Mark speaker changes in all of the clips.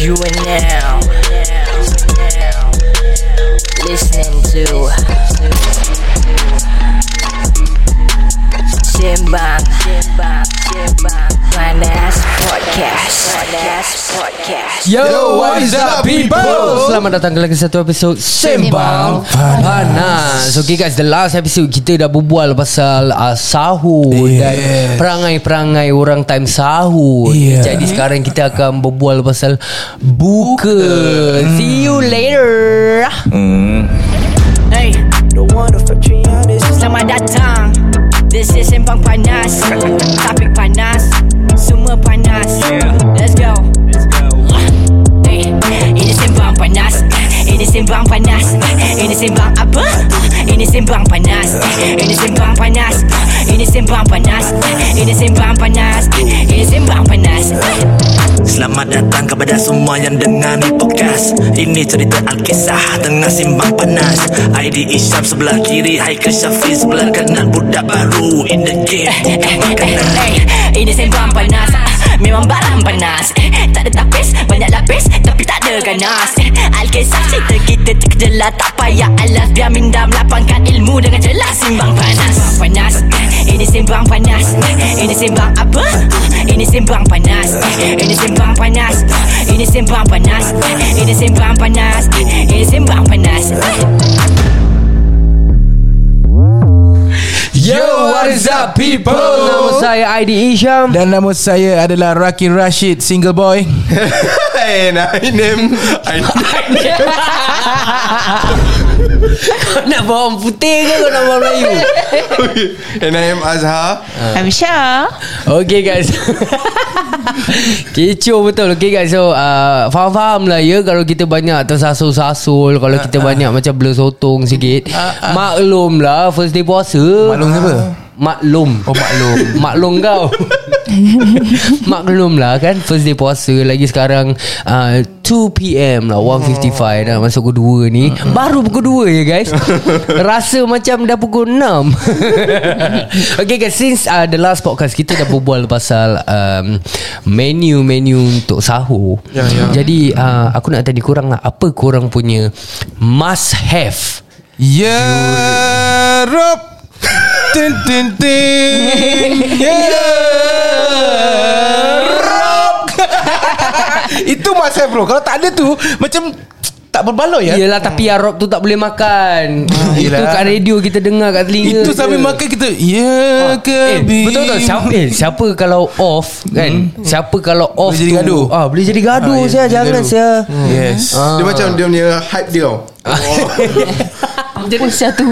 Speaker 1: You are now listening to Simbang Panas Podcast Panas Podcast
Speaker 2: Yo,
Speaker 3: what is up, people?
Speaker 2: Selamat datang ke lagi satu episod Sembang Panas Okay guys, the last episode kita dah berbual pasal uh, sahur Dan
Speaker 3: Yes.
Speaker 2: perangai-perangai orang time sahur
Speaker 3: Yeah.
Speaker 2: Jadi sekarang kita akan berbual pasal buka,
Speaker 3: Hmm.
Speaker 2: See you later
Speaker 1: Hey Selamat datang This is Sembang Panas Topik panas Semua panas Let's go Hey, Ini Sembang Panas Ini Sembang Panas Ini Sembang apa? Ini Sembang Panas Ini Sembang Panas Ini Sembang Panas Ini Sembang Panas Ini Sembang Panas
Speaker 4: Selamat datang kepada semua yang dengar ni podcast Ini cerita Alkisah tengah simbang panas ID Isyam sebelah kiri Haikal Syafiq sebelah kanan Budak baru in the game Bukan makanan
Speaker 1: Hey, Ini Sembang Panas Memang barang panas Tak ada tapis, banyak lapis Tapi tak ada ganas Alkisah cerita kita terkejelah Tak payah alas Biar minda melapangkan ilmu dengan jelas Sembang Panas Sembang Panas Ini Sembang Panas Ini Sembang apa? Ini Sembang Panas Ini Sembang Panas Ini Sembang Panas Ini Sembang Panas Ini Sembang Panas
Speaker 3: Yo, what is up people?
Speaker 2: Nama saya Aidi Isham
Speaker 3: Dan nama saya adalah Raki Rashid, single boy. And I name I
Speaker 2: Nak bawa orang putih ke kau nak bawa Melayu?
Speaker 3: and I am Azhar.
Speaker 5: I'm sure
Speaker 2: Okay guys Kecoh betul Okay guys so uh, Faham-faham lah ya Kalau kita banyak tersasul-sasul Kalau kita banyak macam blur sotong sikit Maklum lah First day puasa
Speaker 3: Maklum siapa?
Speaker 2: Maklum Oh maklum Maklum kau Maklum lah kan First day puasa Lagi sekarang uh, 2pm lah 1.55 dah masuk pukul 2 ni Baru pukul 2 ya guys Rasa macam dah pukul 6 Okay guys Since uh, the last podcast Kita dah berbual pasal um, Menu-menu untuk sahur
Speaker 3: Ya, ya.
Speaker 2: Jadi uh, aku nak tanya korang lah Apa korang punya Must have
Speaker 3: Europe. Tin tin tin. Europe. Eh, Itu masa bro. Kalau tak ada tu macam tak berbaloi ya.
Speaker 2: Yelah tapi Arab tu tak boleh makan Itu
Speaker 3: Ah, yelah.
Speaker 2: kat radio kita dengar kat telinga je.
Speaker 3: Itu sambil makan kita Ya
Speaker 2: Eh,
Speaker 3: ke
Speaker 2: betul betul siapa, eh, siapa kalau off kan hmm. siapa kalau off
Speaker 3: jadi
Speaker 2: tu,
Speaker 3: gaduh.
Speaker 2: ah boleh jadi gaduh
Speaker 3: Ah, ya,
Speaker 2: saya
Speaker 3: jadi
Speaker 2: jangan
Speaker 3: gaduh.
Speaker 2: saya
Speaker 3: Yes
Speaker 2: Ah.
Speaker 6: Dia macam dia punya hype dia tau.
Speaker 5: Jadi satu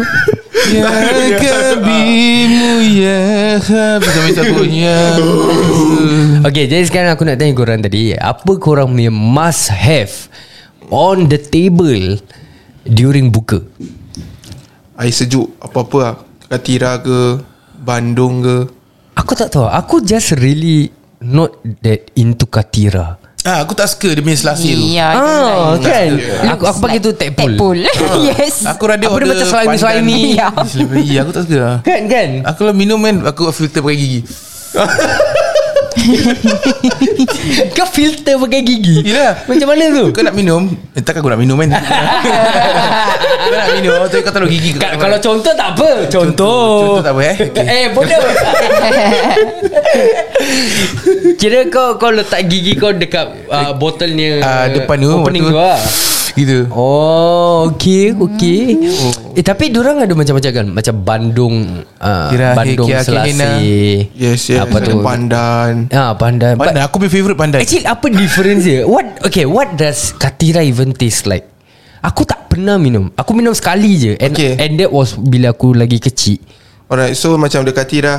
Speaker 3: Ya kebimu Ya Sampai satu Ya
Speaker 2: Okay jadi sekarang aku nak tanya korang tadi apa korang punya must have on the table during buka
Speaker 6: Air sejuk apa-apa lah. Katira ke Bandung ke
Speaker 2: aku tak tahu aku just really not that into katira
Speaker 3: Ah, aku tak suka dia punya selasi tu.
Speaker 5: Iya
Speaker 2: ah kan
Speaker 5: Looks
Speaker 2: aku aku panggil tu
Speaker 5: like
Speaker 2: tadpole
Speaker 5: Tadpole Yes
Speaker 3: Aku rada
Speaker 2: Apa dia
Speaker 3: order
Speaker 2: macam slimy-
Speaker 3: pandan.
Speaker 2: slimy?
Speaker 3: Ya. Ya, aku tak suka lah.
Speaker 2: kan kan
Speaker 3: Aku kalau minum kan Aku filter pakai gigi
Speaker 2: kau filter pakai gigi
Speaker 3: Yelah
Speaker 2: macam mana tu
Speaker 3: Kau nak minum eh, Takkan aku nak minum kan Kau nak minum Tapi kau taruh gigi
Speaker 2: Ka- kalau contoh tak apa Contoh
Speaker 3: Contoh tak apa, eh? Okey.
Speaker 2: Eh bodoh Kira kau kau letak gigi kau dekat uh, botolnya
Speaker 3: Ah, depan tu,
Speaker 2: Opening
Speaker 3: botol.
Speaker 2: tu lah
Speaker 3: Gitu
Speaker 2: Oh okay okay
Speaker 3: Oh.
Speaker 2: Eh tapi diorang ada macam-macam kan Macam Bandung uh,
Speaker 3: Kira
Speaker 2: Bandung
Speaker 3: Kira- Kira- Kira-
Speaker 2: Selasih
Speaker 6: Yes yes
Speaker 2: Apa
Speaker 6: Ada
Speaker 2: tu
Speaker 6: Pandan
Speaker 2: Ah, pandan. But
Speaker 3: Pandai Aku punya favourite pandai
Speaker 2: Actually apa difference dia What Okay what does Katira even taste like Aku tak pernah minum Aku minum sekali je And, okay.
Speaker 6: Okay.
Speaker 2: and that was Bila aku lagi kecil
Speaker 6: Alright so macam dekat Katira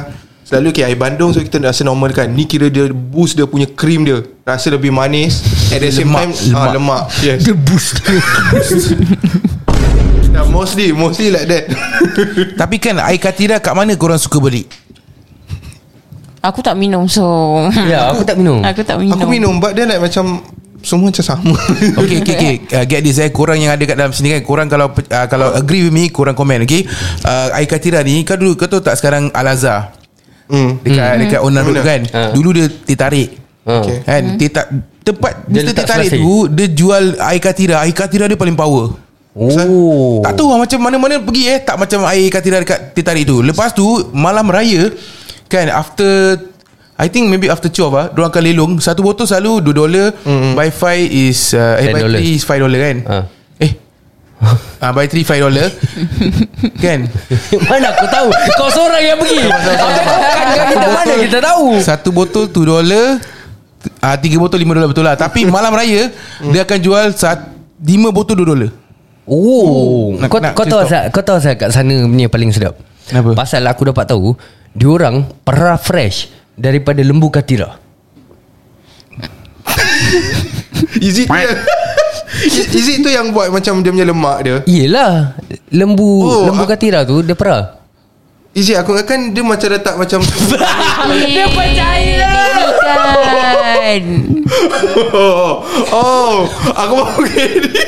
Speaker 6: Selalu okay, air Bandung So kita rasa normal kan Ni kira dia boost dia punya cream dia Rasa lebih manis At the same
Speaker 3: Lemak,
Speaker 6: time lemak. Ah, lemak Yes
Speaker 2: The boost
Speaker 6: yeah, Mostly Mostly like that
Speaker 3: Tapi kan air katira kat mana korang suka beli
Speaker 5: Aku tak minum so
Speaker 2: Ya aku tak minum
Speaker 5: Aku tak minum
Speaker 6: Aku minum But then like macam Semua macam sama
Speaker 3: Okay, okay, okay. Uh, get this eh. Korang yang ada kat dalam sini kan. Korang kalau uh, kalau agree with me, korang komen, okay? Uh, Air Katira ni, kau dulu, kau tahu tak sekarang Al-Azhar?
Speaker 6: Hmm.
Speaker 3: Dekat, mm. dekat Onan Road kan.
Speaker 2: Ha.
Speaker 3: Dulu dia ditarik.
Speaker 2: Ah.
Speaker 6: Okay. Hmm.
Speaker 3: Kan? Dia tak, tempat
Speaker 2: Dia
Speaker 3: Mr.
Speaker 2: letak
Speaker 3: Teh Tarik
Speaker 2: selasih.
Speaker 3: tu Dia jual air katira Air katira dia paling power
Speaker 2: Oh.
Speaker 3: Tak tahu lah macam mana-mana pergi eh Tak macam air katira dekat Teh Tarik tu Lepas tu Malam raya Kan after I think maybe after 12 lah Diorang akan lelong Satu botol selalu 2 dolar mm.
Speaker 6: Hmm.
Speaker 3: By 5 is uh, eh, By
Speaker 2: $10.
Speaker 3: 3 is 5 dolar kan
Speaker 2: Ha.
Speaker 3: Eh Ah, by 3 5 dolar Kan
Speaker 2: Mana aku tahu Kau seorang yang pergi Kan kita mana kita tahu
Speaker 3: Satu botol 2 dolar ah, Tiga botol 5 dolar betul lah Tapi malam raya Dia akan jual sat, 5 botol 2 dolar
Speaker 2: Oh,
Speaker 3: Nak-
Speaker 2: kau,
Speaker 3: nak
Speaker 2: kau tahu
Speaker 3: cerita.
Speaker 2: asal kau tahu asal kat sana punya paling sedap.
Speaker 3: Kenapa?
Speaker 2: Pasal aku dapat tahu diorang perah fresh daripada lembu katira.
Speaker 6: Is it is, is it tu yang buat Macam dia punya lemak dia
Speaker 2: Yelah Lembu
Speaker 6: Oh,
Speaker 2: Lembu
Speaker 6: ah.
Speaker 2: katira tu Dia perah
Speaker 6: Is it aku kan Dia macam letak macam
Speaker 5: Dia percaya Bukan
Speaker 6: Oh, oh Aku mau gini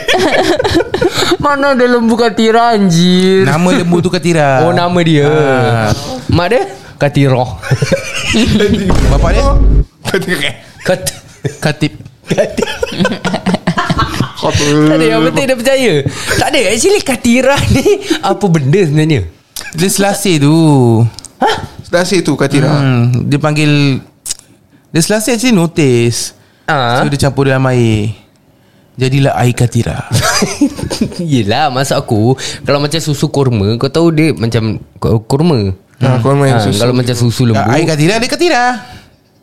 Speaker 2: Mana ada lembu katira anjir
Speaker 3: Nama lembu tu Katira
Speaker 2: Oh nama dia
Speaker 3: Ah.
Speaker 2: Mak dia Katiro
Speaker 3: Bapak dia
Speaker 2: Oh.
Speaker 6: eh.
Speaker 2: Kat
Speaker 3: Katib
Speaker 2: Tak ada yang penting dia percaya Tak ada Actually katira ni Apa benda sebenarnya
Speaker 3: Dia selasih tu
Speaker 6: Nasi tu Katira
Speaker 3: hmm, Dia panggil Dia selasih actually notice
Speaker 2: Ah,
Speaker 3: So dia campur dalam air Jadilah air Katira
Speaker 2: Yelah Masa aku Kalau macam susu kurma Kau tahu dia macam ku- Kurma
Speaker 6: Ha, korma yang
Speaker 2: Ah,
Speaker 6: susu.
Speaker 2: Kalau macam susu lembu
Speaker 3: Air Katira dia Katira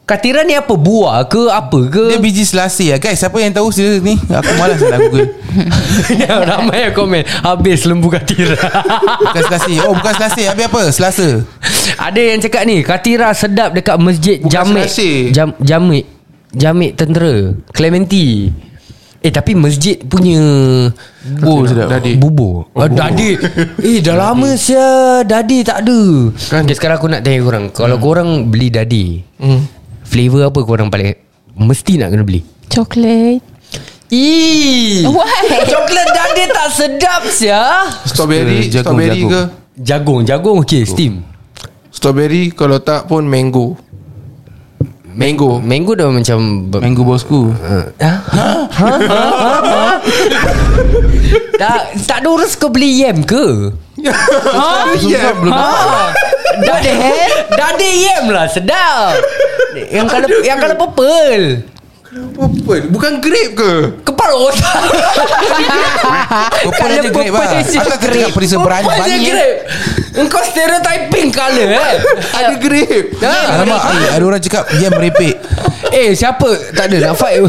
Speaker 2: Katira ni apa Buah ke Apa ke
Speaker 3: Dia biji selasih lah Guys siapa yang tahu sila ni Aku malas nak google
Speaker 2: Ramai yang komen Habis lembu katira
Speaker 3: Bukan selasih Oh bukan selasih Habis apa Selasa
Speaker 2: Ada yang cakap ni Katira sedap dekat masjid
Speaker 6: Bukan
Speaker 2: Jamik
Speaker 6: Selasih.
Speaker 2: Jam, Jamik Jamik tentera Clementi Eh tapi masjid punya Bubur
Speaker 6: sedap. Dadi.
Speaker 2: Bubur oh, Dadi Eh dah lama sia Dadi tak ada kan. Okay sekarang aku nak tanya korang Kalau korang beli dadi hmm. Flavor apa korang paling Mesti nak kena beli
Speaker 5: Coklat
Speaker 2: Ih
Speaker 5: Why?
Speaker 2: Coklat dadi tak sedap sia
Speaker 6: Strawberry
Speaker 3: Jagung,
Speaker 6: Strawberry
Speaker 3: jagung.
Speaker 6: ke
Speaker 2: Jagung Jagung okay steam
Speaker 6: Strawberry Kalau tak pun mango Mango
Speaker 2: Mango dah macam ber-
Speaker 3: Mango bosku
Speaker 2: Ha? Ha? Ha? Ha? Ha? Tak, tak ada urus kau beli yam ke?
Speaker 6: Ha? Yeah.
Speaker 2: Ha? Dah ada eh? Dah ada yam lah sedap. Yang kalau yang kalau purple.
Speaker 6: Purple Bukan grape ke
Speaker 2: Kepala otak.
Speaker 3: Purple ada grape lah Aku tak cakap perisa berani
Speaker 2: Banyak
Speaker 3: Banyak
Speaker 2: grape. Engkau stereotyping colour eh.
Speaker 6: Ada grape
Speaker 2: Ha?
Speaker 3: Alamak eh, Ada orang cakap Dia merepek
Speaker 2: Eh siapa Tak ada nak fight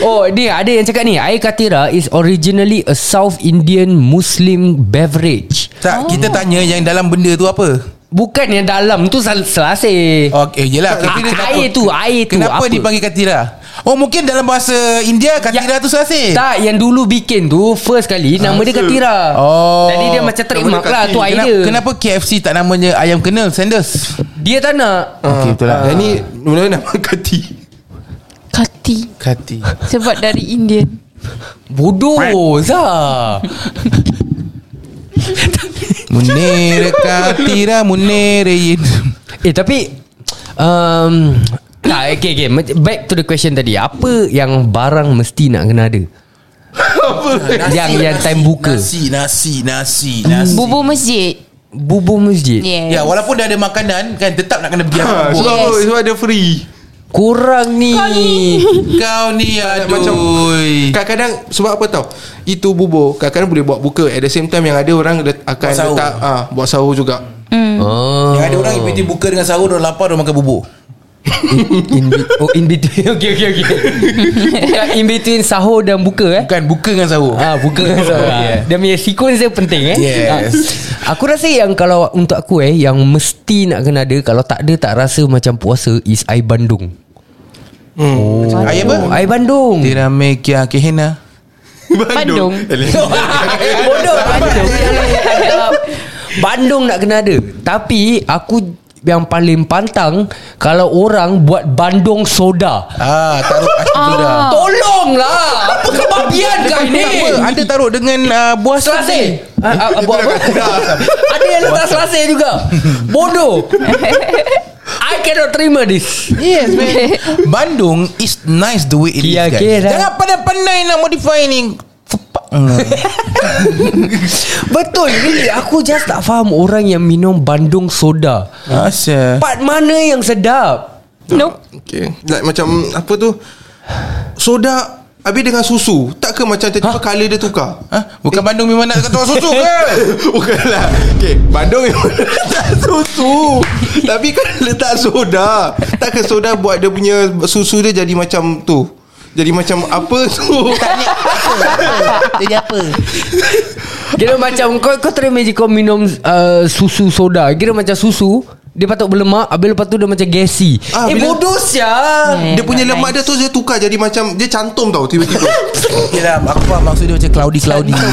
Speaker 2: Oh ni ada yang cakap ni Air Katira is originally a South Indian Muslim beverage
Speaker 3: tak, Kita tanya yang dalam benda tu apa
Speaker 2: Bukan yang dalam tu sel- selasih oh,
Speaker 3: Oh, eh, yelah
Speaker 2: Ah,
Speaker 3: Katira kenapa-
Speaker 2: air tu, air tu,
Speaker 3: Kenapa
Speaker 2: apa?
Speaker 3: dipanggil Katira Oh mungkin dalam bahasa India Katira
Speaker 2: Ya.
Speaker 3: tu selasih
Speaker 2: Tak yang dulu bikin tu First kali Nama dia Katira
Speaker 3: Oh.
Speaker 2: Jadi dia macam trademark
Speaker 6: Nama dia
Speaker 2: lah
Speaker 6: kaki.
Speaker 2: Tu air
Speaker 3: Kenapa,
Speaker 2: dia
Speaker 3: kenapa KFC tak namanya Ayam kenal Sanders
Speaker 2: Dia tak nak
Speaker 3: Okey betul lah
Speaker 6: Dan ni Mula nama Kati
Speaker 5: Kati
Speaker 3: Kati
Speaker 5: Sebab dari Indian
Speaker 2: Bodoh Zah
Speaker 3: Munir Katira Munir
Speaker 2: Eh tapi um, Tak okay, okay Mac- Back to the question tadi Apa yang barang mesti nak kena ada Yang yang time buka
Speaker 3: Nasi Nasi Nasi, nasi.
Speaker 5: Bubur masjid
Speaker 2: Bubur masjid
Speaker 3: Ya
Speaker 5: Yes
Speaker 3: walaupun dah ada makanan Kan tetap nak kena pergi ambil
Speaker 6: ha,
Speaker 3: bubur.
Speaker 6: Sebab apa Sebab dia free
Speaker 2: Kurang ni
Speaker 3: Kau ni aduh
Speaker 6: macam Kadang-kadang Sebab apa tau Itu bubur Kadang-kadang boleh buat buka At the same time Yang ada orang let, Akan
Speaker 3: Buat sahur.
Speaker 6: letak ah, Buat sahur juga
Speaker 2: oh.
Speaker 3: Yang ada orang Ikuti buka dengan sahur Dia lapar dia makan bubur
Speaker 2: in be- Oh in between Okay okay okay Bukan in between sahur dan buka eh
Speaker 3: Bukan buka dengan sahur
Speaker 2: Ah buka dengan sahur
Speaker 3: Yeah.
Speaker 2: Dia punya sequence dia penting eh
Speaker 3: Yes.
Speaker 2: ah. Aku rasa yang kalau Untuk aku eh Yang mesti nak kena ada Kalau tak ada tak rasa macam puasa Is air bandung
Speaker 3: Ayam apa?
Speaker 2: Oh, air bandung
Speaker 3: Tirame kia kehena
Speaker 5: Bandung.
Speaker 2: Bodoh Bandung Bandung nak kena ada Tapi aku yang paling pantang Kalau orang buat bandung soda
Speaker 3: Ah, taruh asyik gula.
Speaker 2: Oh.
Speaker 5: Ah.
Speaker 2: Tolonglah Apa kebabian kau ini
Speaker 3: Ini apa? Anda taruh dengan uh, buah
Speaker 2: Selasih Ah, ah, Buat apa Ada yang letak selasih juga Bodoh I cannot terima this
Speaker 3: Yes man Bandung is nice the way it is
Speaker 2: Kira-
Speaker 3: guys
Speaker 2: kira.
Speaker 3: Jangan pandai-pandai nak modify ni Fupak. Hmm.
Speaker 2: Betul really Aku just tak faham Orang yang minum Bandung soda
Speaker 3: Asal
Speaker 2: Part mana yang sedap
Speaker 5: Nope
Speaker 6: Okay. Like macam apa tu? Soda habis dengan susu. Tak ke macam tiba-tiba color dia tukar?
Speaker 3: ha? Bukan Bandung memang nak kata susu ke
Speaker 6: Bukanlah.
Speaker 3: Eh,
Speaker 6: Okay, Bandung memang letak susu. Tapi kan letak soda. Tak ke soda buat dia punya susu dia jadi macam tu. Jadi macam apa tu?
Speaker 7: Jadi apa
Speaker 2: Kira macam Kau, kau try imagine Kau minum uh, Susu soda Kira macam susu Dia patut berlemak Habis lepas tu Dia macam gassy
Speaker 6: Ah,
Speaker 2: ah, Eh
Speaker 6: bila-
Speaker 2: bodoh sial
Speaker 6: Dia punya lemak dia tu dia tukar jadi macam dia cantum tau tiba-tiba.
Speaker 3: Okay lah Aku faham maksud dia macam cloudy-cloudy
Speaker 5: Eh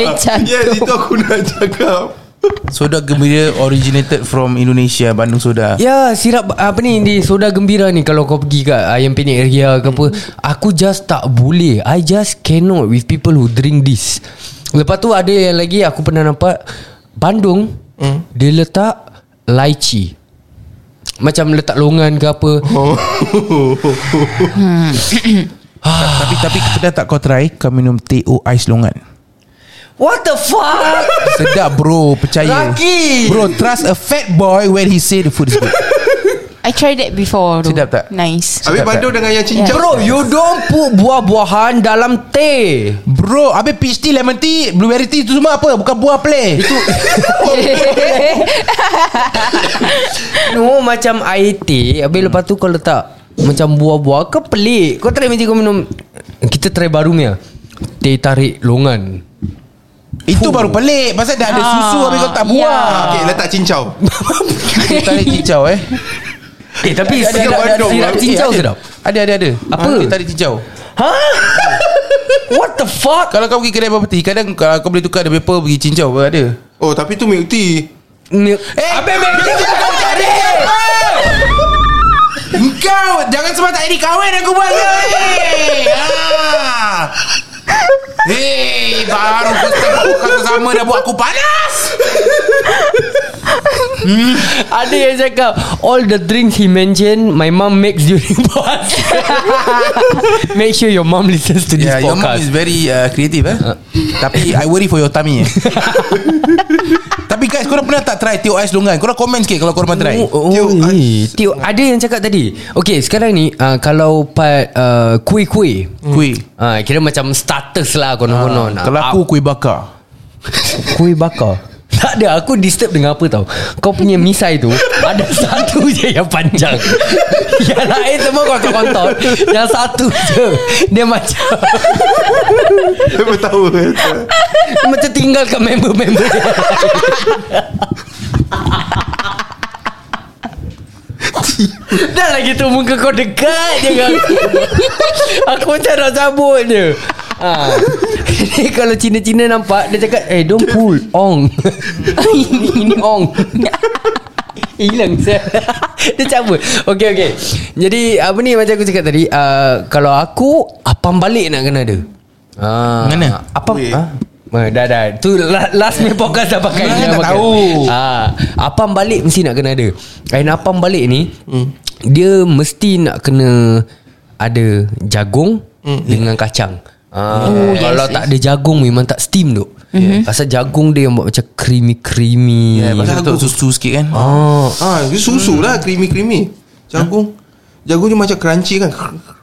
Speaker 6: yes,
Speaker 5: cantik
Speaker 6: Ya, itu aku nak cakap.
Speaker 3: Soda gembira originated from Indonesia Bandung soda
Speaker 2: Ya sirap apa ni di soda gembira ni kalau kau pergi kat ayam penyet ria ke apa aku just tak boleh I just cannot with people who drink this. Lepas tu ada yang lagi aku pernah nampak Bandung mm. dia letak lychee. Macam letak longan ke apa.
Speaker 3: Tapi tapi pernah tak kau try Kau minum teh o ais longan
Speaker 2: What the fuck?
Speaker 3: Sedap bro Percaya
Speaker 2: Laki.
Speaker 3: Bro trust a fat boy When he say the food is good
Speaker 5: I tried that before tu.
Speaker 3: Sedap tak?
Speaker 5: Nice
Speaker 6: Habis Bandung dengan yang cincang.
Speaker 2: Bro, you don't put buah-buahan dalam teh.
Speaker 3: Bro Habis peach tea lemon tea Blueberry tea tu semua apa Bukan buah play Itu
Speaker 2: No macam air teh Habis lepas tu kau letak Macam buah-buah Kau pelik Kau try macam kau minum Kita try baru ni lah. Teh tarik longan
Speaker 3: Itu baru pelik Pasal dah
Speaker 2: Ah,
Speaker 3: ada susu Habis kau tak buat
Speaker 5: Ya.
Speaker 6: Okay, letak cincau.
Speaker 3: Kita tarik cincau eh
Speaker 2: Eh tapi sedap Sirap cincau
Speaker 3: ada.
Speaker 2: sedap
Speaker 3: Ada ada ada
Speaker 2: Apa?
Speaker 3: Ah, Kita tarik cincau
Speaker 2: Ha? What the fuck?
Speaker 3: Kalau kau pergi kedai bubble tea Kadang kalau kau boleh tukar Ada paper pergi cincau Ada
Speaker 6: Oh, tapi tu milk tea.
Speaker 2: Eh, Habis mereka bukan tarik
Speaker 3: Eh, Kau Jangan sebab tak jadi kawan Aku buat Eh, Hei ah. Hei Eh, Baru kau step Kau sama Dah buat aku panas
Speaker 2: Ada yang cakap All the drinks he mentioned My mom makes during pause Make sure your mom listens to this
Speaker 3: Yeah, your mom
Speaker 2: podcast
Speaker 3: is very uh, creative eh. Tapi I worry for your tummy. eh. Tapi guys, korang pernah tak try teh ais longan? Korang komen sikit kalau korang pernah try.
Speaker 2: Oh, oh,
Speaker 6: Tio,
Speaker 2: eh. Tio, ada yang cakap tadi. Okay, sekarang ni uh, kalau part uh, kuih-kuih.
Speaker 3: Kuih.
Speaker 2: Ah, kira macam status lah konon-konon. Ah,
Speaker 3: Kalau aku kuih bakar.
Speaker 2: kuih bakar. Tak ada Aku disturb dengan apa tau Kau punya misai tu Ada satu je yang panjang Yang lain semua kontol-kontol Yang satu je Dia macam
Speaker 6: Aku tahu.
Speaker 2: Macam tinggal kat member-member dia Dah lagi tu muka kau dekat je dengan aku. aku macam nak sabut je ha. Ni kalau Cina-Cina nampak Dia cakap Eh don't pull Ong Ini, ini ong Hilang saya Dia cabut Okay okay Jadi apa ni macam aku cakap tadi uh, Kalau aku Apam balik nak kena dia Ah,
Speaker 3: Mana?
Speaker 2: Apa? Ha? Eh, dah dah Tu la- last punya podcast dah pakai
Speaker 3: Ah,
Speaker 2: Dah
Speaker 3: tak
Speaker 2: pakai.
Speaker 3: tahu.
Speaker 2: ah, Apam balik mesti nak kena ada And apam balik ni Dia mesti nak kena Ada jagung Dengan kacang ah, oh, Kalau tak ada jagung Memang tak steam tu mm-hmm. Pasal jagung dia yang buat macam Creamy-creamy
Speaker 3: Ya, pasal tu susu sikit kan.
Speaker 2: oh,
Speaker 6: Ah, dia susu lah, creamy-creamy. Jagung. Jagung dia macam crunchy kan.
Speaker 2: Eh,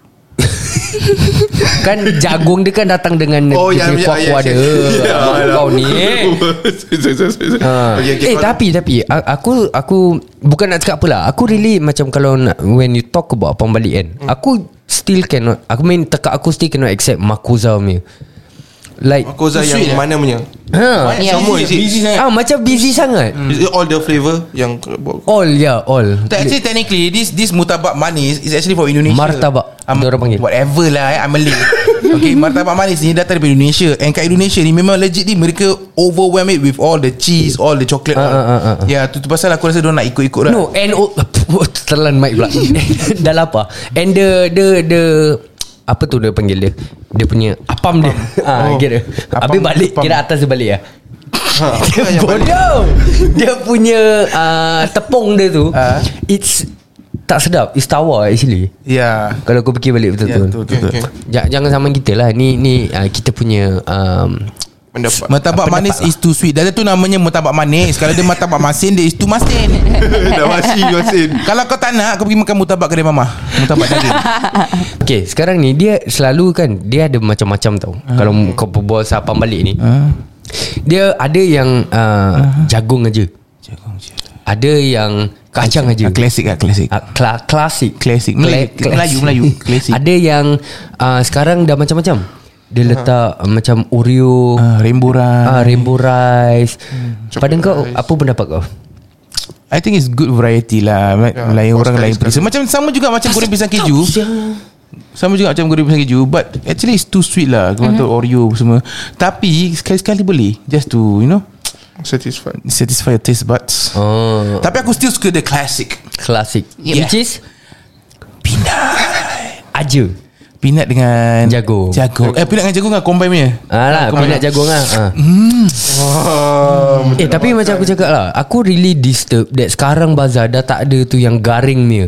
Speaker 2: Kan jagung dia kan datang dengan
Speaker 6: Oh,
Speaker 2: dia
Speaker 6: yang
Speaker 2: punya kuah-kuah dia
Speaker 6: ya,
Speaker 2: Ah, Kau ni eh
Speaker 6: Oh.
Speaker 2: Ha.
Speaker 6: okay, okay,
Speaker 2: eh tapi tapi a- aku aku bukan nak cakap apalah. Aku really macam kalau nak, when you talk about pembalik kan. Hmm. Aku still cannot. Aku main tekak aku still cannot accept makuza punya. Like
Speaker 6: Makoza
Speaker 3: Sweet eh?
Speaker 6: yang mana punya?
Speaker 2: ha.
Speaker 6: Banyak Sama is it?
Speaker 3: Busy sangat.
Speaker 2: Ah macam busy sangat.
Speaker 6: Is it all the flavour yang
Speaker 2: All ya yeah, all.
Speaker 3: Hmm. Tak, actually technically this this mutabak manis is actually from Indonesia.
Speaker 2: Martabak,
Speaker 3: Um,
Speaker 2: dia orang panggil.
Speaker 3: Whatever lah eh, I'm Malay. okay, martabak manis ni datang daripada Indonesia. And kat Indonesia ni memang legit ni mereka overwhelm it with all the cheese, all the chocolate.
Speaker 2: Ah,
Speaker 3: all.
Speaker 2: ah, ah, ah.
Speaker 3: Ya, yeah, tu, tu pasal aku rasa dia nak ikut-ikut lah.
Speaker 2: No and oh, Telan mic pula Dah lapar And the The the apa tu dia panggil dia Dia punya Apam dia ah,
Speaker 3: Oh.
Speaker 2: Kira
Speaker 3: Apam-
Speaker 2: Habis balik
Speaker 3: apam.
Speaker 2: Kira atas dia balik lah Dia bodoh Dia punya uh, Tepung dia tu
Speaker 3: Ah.
Speaker 2: It's Tak sedap It's tawar actually
Speaker 3: Ya
Speaker 2: Kalau kau fikir balik
Speaker 3: Ya,
Speaker 2: betul-betul
Speaker 3: betul, betul, betul.
Speaker 2: Ja- Jangan sama kita lah Ni ni uh, kita punya um,
Speaker 6: Mendapat
Speaker 3: Martabak manis is too sweet Dah tu namanya martabak manis Kalau dia martabak masin Dia is too masin
Speaker 6: Dah masih Masin
Speaker 3: Kalau kau tak nak Kau pergi makan mutabak kedai mama Mutabak daging
Speaker 2: Okay sekarang ni Dia selalu kan Dia ada macam-macam tau
Speaker 3: Ha.
Speaker 2: Kalau kau berbual sapam balik ni Dia ada yang
Speaker 3: Ha?
Speaker 2: uh, Jagung aja Ada yang Kacang aja
Speaker 3: Ah, Classic lah classic
Speaker 2: Ah, kla- klasik
Speaker 3: Klasik. Melayu.
Speaker 2: Kla-
Speaker 3: Melayu, Melayu. Klasik.
Speaker 2: Ada yang uh, Sekarang dah macam-macam Dia letak uh, Macam Oreo uh,
Speaker 3: Ah, Hmm. Rainbow
Speaker 2: uh,
Speaker 3: rice
Speaker 2: Rainbow rice Pada kau Apa pendapat kau?
Speaker 3: I think it's good variety lah
Speaker 2: Ya,
Speaker 3: yeah, Lain orang lain perasa Macam sama juga Macam goreng pisang keju Sama juga macam goreng pisang keju But actually it's too sweet lah Kau mm-hmm. Oreo semua Tapi Sekali-sekali boleh Just to you know
Speaker 6: Satisfied
Speaker 3: Satisfy your taste buds
Speaker 2: Oh,
Speaker 3: Tapi aku still suka the classic
Speaker 2: klasik
Speaker 3: Ya.
Speaker 5: Yeah.
Speaker 2: Which is Peanut Aja
Speaker 3: Peanut dengan
Speaker 2: Jagung.
Speaker 3: Jagung Eh peanut dengan jagung lah Combine punya
Speaker 2: Alah, peanut jagung Ah, lah ah.
Speaker 3: Hmm.
Speaker 6: Wah
Speaker 2: Eh tapi macam aku cakap lah Aku really disturbed That sekarang bazar Dah tak ada tu yang garing ni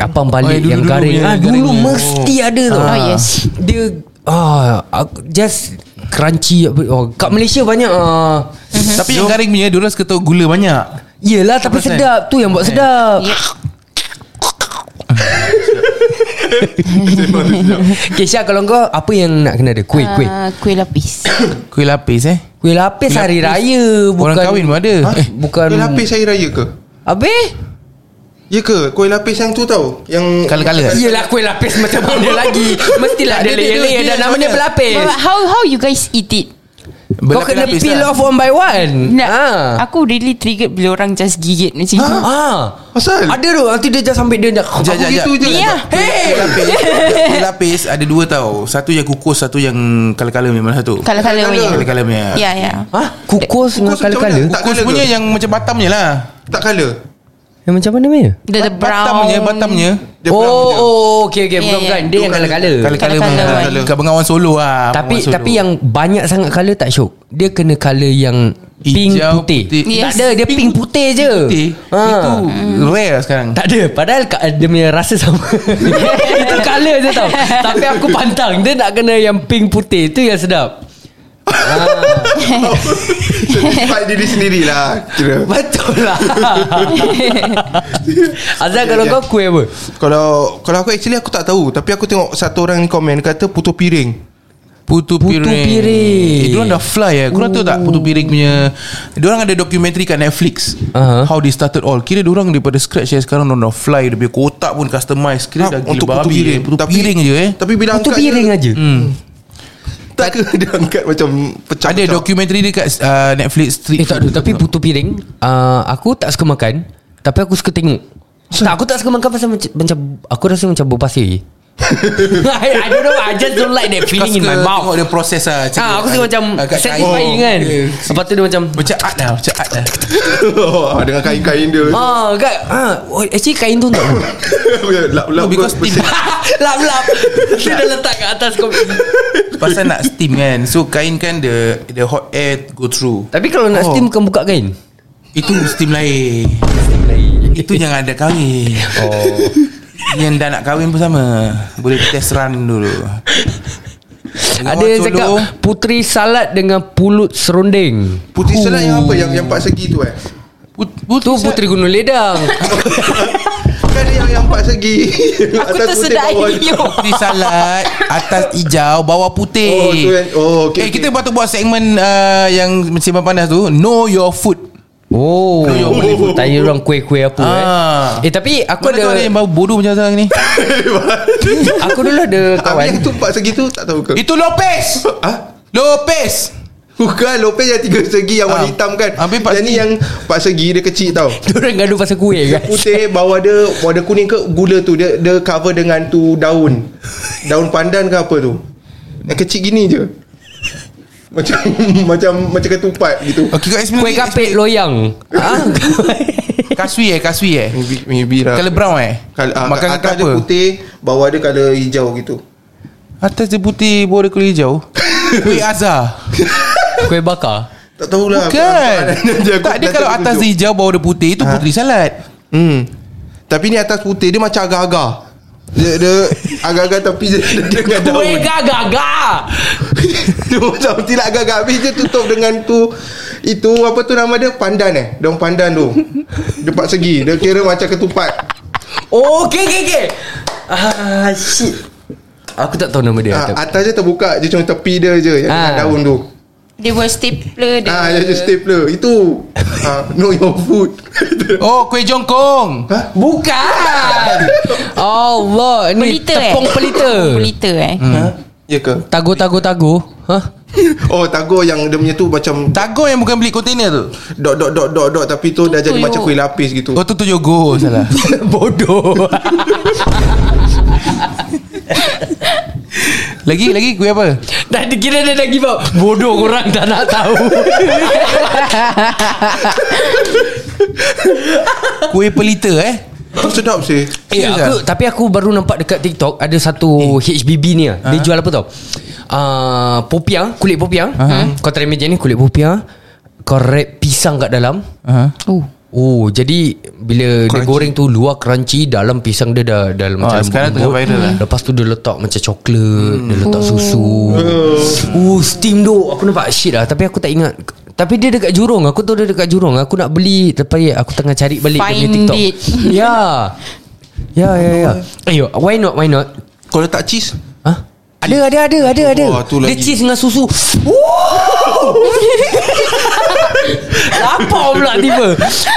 Speaker 2: Apam balik
Speaker 3: dulu-
Speaker 2: yang
Speaker 3: dulu
Speaker 2: garing
Speaker 3: Oh, eh,
Speaker 2: ah,
Speaker 3: punya garing
Speaker 2: Dulu
Speaker 3: punya.
Speaker 2: mesti ada tu
Speaker 5: Oh, yes.
Speaker 2: Dia ah, aku- Just Crunchy apa- oh, Kat Malaysia banyak ah.
Speaker 3: Tapi yang garing punya Diorang suka tahu gula banyak
Speaker 2: Yelah tapi
Speaker 3: Perasan?
Speaker 2: sedap Tu
Speaker 3: Eh.
Speaker 2: yang buat sedap Okay Syah kalau kau Apa yang nak kena ada Kuih kuih
Speaker 5: Ah, kuih lapis
Speaker 3: Kuih lapis eh
Speaker 2: Kuih lapis hari raya
Speaker 3: Orang
Speaker 2: bukan,
Speaker 3: kahwin pun ada
Speaker 2: Eh, Bukan
Speaker 6: Ha? Kuih lapis hari raya ke?
Speaker 2: Habis
Speaker 6: Ya ke? Kuih lapis yang tu tau Yang
Speaker 3: Kala-kala kan
Speaker 2: Yelah kuih lapis macam mana lagi Mestilah ada
Speaker 3: Tak, dia- dia-
Speaker 2: layer-layer
Speaker 3: dia-
Speaker 2: Dan
Speaker 3: dia-
Speaker 2: nama dia
Speaker 3: dia-
Speaker 2: berlapis
Speaker 5: But how how you guys eat it?
Speaker 2: Kau kena
Speaker 3: Berlapis-lapis
Speaker 2: peel
Speaker 3: lah.
Speaker 2: off one by one
Speaker 5: Nak,
Speaker 2: ha.
Speaker 3: Ah.
Speaker 5: Aku really triggered bila orang just gigit macam tu.
Speaker 2: Ah.
Speaker 6: Pasal?
Speaker 2: Ada tu Nanti dia just sampai dia nak
Speaker 3: Jap, jap, jap.
Speaker 6: Itu je
Speaker 5: Ni lah.
Speaker 3: Kuih lapis Kuih lapis ada dua tau Satu yang kukus Satu yang kala-kala memang satu
Speaker 5: Kala-kala punya.
Speaker 3: Kala-kala punya
Speaker 5: Ya, ya.
Speaker 2: Ha? Kukus dengan
Speaker 6: macam
Speaker 2: kala-kala
Speaker 6: mana? Tak
Speaker 3: Kukus
Speaker 6: kala ke?
Speaker 3: punya yang macam Batam punya lah
Speaker 6: Tak kala
Speaker 2: Yang Eh, macam mana punya?
Speaker 5: The, the
Speaker 3: Batam
Speaker 5: brown.
Speaker 3: punya Batam punya
Speaker 6: Dia
Speaker 2: oh,
Speaker 6: brown je.
Speaker 2: oh, okay, okay.
Speaker 5: Ya,
Speaker 2: Bukan,
Speaker 5: ya.
Speaker 2: bukan. Dia yang kala-kala.
Speaker 3: Kala-kala punya
Speaker 5: Kala-kala
Speaker 6: one.
Speaker 3: Kat Bengawan Solo lah
Speaker 2: Tapi
Speaker 3: Bengawan Solo.
Speaker 2: tapi yang banyak sangat color tak syok. Dia kena color yang pink
Speaker 3: Hijau,
Speaker 2: putih.
Speaker 3: putih.
Speaker 2: Tak
Speaker 5: Yes.
Speaker 2: ada, dia pink, putih je.
Speaker 3: Putih
Speaker 2: Ha.
Speaker 3: Itu rare lah sekarang
Speaker 2: Tak ada Padahal ka- dia punya rasa sama Itu colour je tau Tapi aku pantang Dia nak kena yang pink putih Itu yang sedap
Speaker 6: Satisfied diri sendirilah Kira
Speaker 2: Betul lah Azhar kalau kau kuih apa?
Speaker 6: Kalau Kalau aku actually aku tak tahu Tapi aku tengok Satu orang ni komen Kata putu piring
Speaker 3: Putu piring
Speaker 2: piring.
Speaker 3: Eh diorang dah fly eh Korang tahu tak Putu piring punya Diorang ada dokumentari kat Netflix
Speaker 2: Aha.
Speaker 3: How they started all Kira diorang daripada scratch eh Sekarang diorang dah fly Dia punya kotak pun customize
Speaker 6: Ha, Ah,
Speaker 3: Kira dah gila babi eh. Putu
Speaker 6: Tapi-
Speaker 3: piring je eh
Speaker 6: Tapi bila
Speaker 2: Putu
Speaker 6: angkat
Speaker 2: piring
Speaker 6: dia,
Speaker 2: aja hmm.
Speaker 6: Tak ke dia angkat macam Pecah
Speaker 3: Ada dokumentari dekat uh, Netflix
Speaker 2: Eh
Speaker 3: Street
Speaker 2: tak ada Tapi putu piring uh, Aku tak suka makan Tapi aku suka tengok tak, aku tak suka makan pasal macam, macam Aku rasa macam berpasir I, I don't know I just don't like that feeling in my
Speaker 3: Tengok
Speaker 2: mouth
Speaker 3: dia proses lah macam
Speaker 2: Ah,
Speaker 3: tu.
Speaker 2: Aku suka macam
Speaker 3: Agak
Speaker 2: Satisfying
Speaker 3: cair. Oh,
Speaker 2: kan
Speaker 3: Yeah.
Speaker 2: Lepas tu dia macam
Speaker 3: Macam art lah Macam art lah
Speaker 6: Dengan kain-kain dia
Speaker 2: Ah, kat ah, oh, actually kain tu tak.
Speaker 6: Lap-lap
Speaker 3: No, because
Speaker 6: bersih.
Speaker 2: Lap-lap. Dia dah letak kat atas kau.
Speaker 3: Pasal nak steam kan So kain kan The the hot air go through
Speaker 2: Tapi kalau nak steam bukan buka kain.
Speaker 3: Itu steam lain Itu yang ada kahwin Oh yang dah nak kahwin pun sama Boleh test run dulu
Speaker 2: Ada yang cakap putri salad dengan pulut serunding.
Speaker 6: Putih selat yang apa Yang yang empat segi tu eh
Speaker 3: Put,
Speaker 2: Tu putri gunung ledang.
Speaker 6: Kan dia yang yang empat segi
Speaker 5: Aku
Speaker 6: Atas putih,
Speaker 5: tersedai.
Speaker 6: bawah-
Speaker 5: Yo.
Speaker 3: Putri salad Atas hijau Bawah putih
Speaker 6: Oh, tu kan. Oh, okey,
Speaker 3: Eh
Speaker 6: okey.
Speaker 3: kita patut buat segmen uh, Yang sembang panas tu Know your food
Speaker 2: Oh, boleh pun tanya orang kuih-kuih apa
Speaker 3: Ah.
Speaker 2: eh. Eh tapi aku
Speaker 3: Mana kau ada yang
Speaker 2: ada
Speaker 3: baru bodoh macam sekarang ni
Speaker 2: aku dulu ada
Speaker 6: Habis
Speaker 2: kawan.
Speaker 6: yang tu empat segi tu Tak tahu ke
Speaker 3: Itu Lopez
Speaker 6: Ha?
Speaker 3: Lopez
Speaker 6: Bukan Lopez yang tiga segi Yang warna
Speaker 3: Ah.
Speaker 6: hitam kan
Speaker 3: Habis empat
Speaker 6: Yang ni
Speaker 3: segi.
Speaker 6: yang Empat segi dia kecil tau
Speaker 2: Diorang gaduh pasal kuih kan.
Speaker 6: Putih bawah dia Warna kuning ke Gula tu Dia dia cover dengan tu Daun Daun pandan ke apa tu Yang kecil gini je Macam Macam Macam ketupat gitu
Speaker 3: Okay kau explain
Speaker 2: Kuih
Speaker 3: lagi.
Speaker 2: kapit loyang. Ah.
Speaker 3: Kasui eh Kasui eh
Speaker 6: Maybe, maybe lah
Speaker 3: Color brown eh
Speaker 6: Kal- ah,
Speaker 3: Makan
Speaker 6: Atas
Speaker 3: kat
Speaker 6: dia
Speaker 3: apa
Speaker 6: putih Bawah dia color hijau gitu
Speaker 3: Atas dia putih Bawah dia kulit hijau Kuih Azhar
Speaker 2: Kuih bakar.
Speaker 6: Tak tahulah
Speaker 3: Bukan Tak dia
Speaker 6: dia Ha.
Speaker 3: kalau atas dia hijau Bawah dia putih Itu puteri salad
Speaker 6: Hmm. Tapi ni atas putih dia macam agar-agar. Dia, dia agar-agar tapi dia, dia dengan daun.
Speaker 2: gaga-gaga
Speaker 6: dia macam tidak agar-agar habis dia tutup dengan tu itu apa tu nama dia pandan eh. Daun pandan tu. Depan segi. Dia kira macam ketupat.
Speaker 2: Oh okay okay okay Ah shit Aku tak tahu nama dia
Speaker 6: Ha,
Speaker 2: Ya, tapi-
Speaker 6: atas dia terbuka je cuma tepi dia je yang
Speaker 2: Ah.
Speaker 6: dengan daun tu.
Speaker 5: Dia buat stapler dia.
Speaker 6: Ah, dia just stapler. Itu ah, know your food.
Speaker 3: Oh kuih jongkong
Speaker 6: Ha?
Speaker 2: Bukan Allah Ni
Speaker 5: Pelita eh
Speaker 2: tepung pelita
Speaker 5: Pelita eh hmm.
Speaker 6: ya ke?
Speaker 2: Tago tago tago Hah?
Speaker 6: Oh, tago yang dia punya tu macam
Speaker 3: Tago yang bukan beli kontainer tu
Speaker 6: dot dot dot dot dot tapi tu, dah jadi
Speaker 5: tuyuk.
Speaker 6: macam kuih lapis gitu.
Speaker 3: Oh tu tu yogo salah
Speaker 2: Bodoh
Speaker 3: Lagi lagi kuih apa
Speaker 2: Dah dia kira dia dah give up Bodoh korang tak nak tahu
Speaker 3: Kuih pelita eh
Speaker 6: Sedap sih.
Speaker 2: Eh,
Speaker 3: Serius
Speaker 2: aku, tapi aku baru nampak dekat TikTok Ada satu HBB ni lah. Dia jual apa tau uh, Popiah Kulit popiah Kau try imagine ni Kulit popiah Kau wrap pisang kat dalam
Speaker 3: uh-huh.
Speaker 5: Oh
Speaker 2: Oh jadi Bila crunchy. dia goreng tu Luar crunchy Dalam pisang dia dah Dalam
Speaker 3: Ah, sekarang tengah viral lah.
Speaker 2: Lepas tu dia letak macam coklat Dia letak susu Oh steam tu Aku nampak shit lah Tapi aku tak ingat tapi dia dekat jurung Aku tahu dia dekat jurung Aku nak beli Tapi aku tengah cari balik dia punya
Speaker 5: Find
Speaker 2: TikTok
Speaker 5: it.
Speaker 2: Ya Ya ya ya Ayo why not why not
Speaker 6: Kau letak cheese
Speaker 2: Ha? Ada ada ada ada ada.
Speaker 6: Wah, tu
Speaker 2: Dia
Speaker 6: lagi.
Speaker 2: cheese dengan susu. Wow! Lapar pula tiba.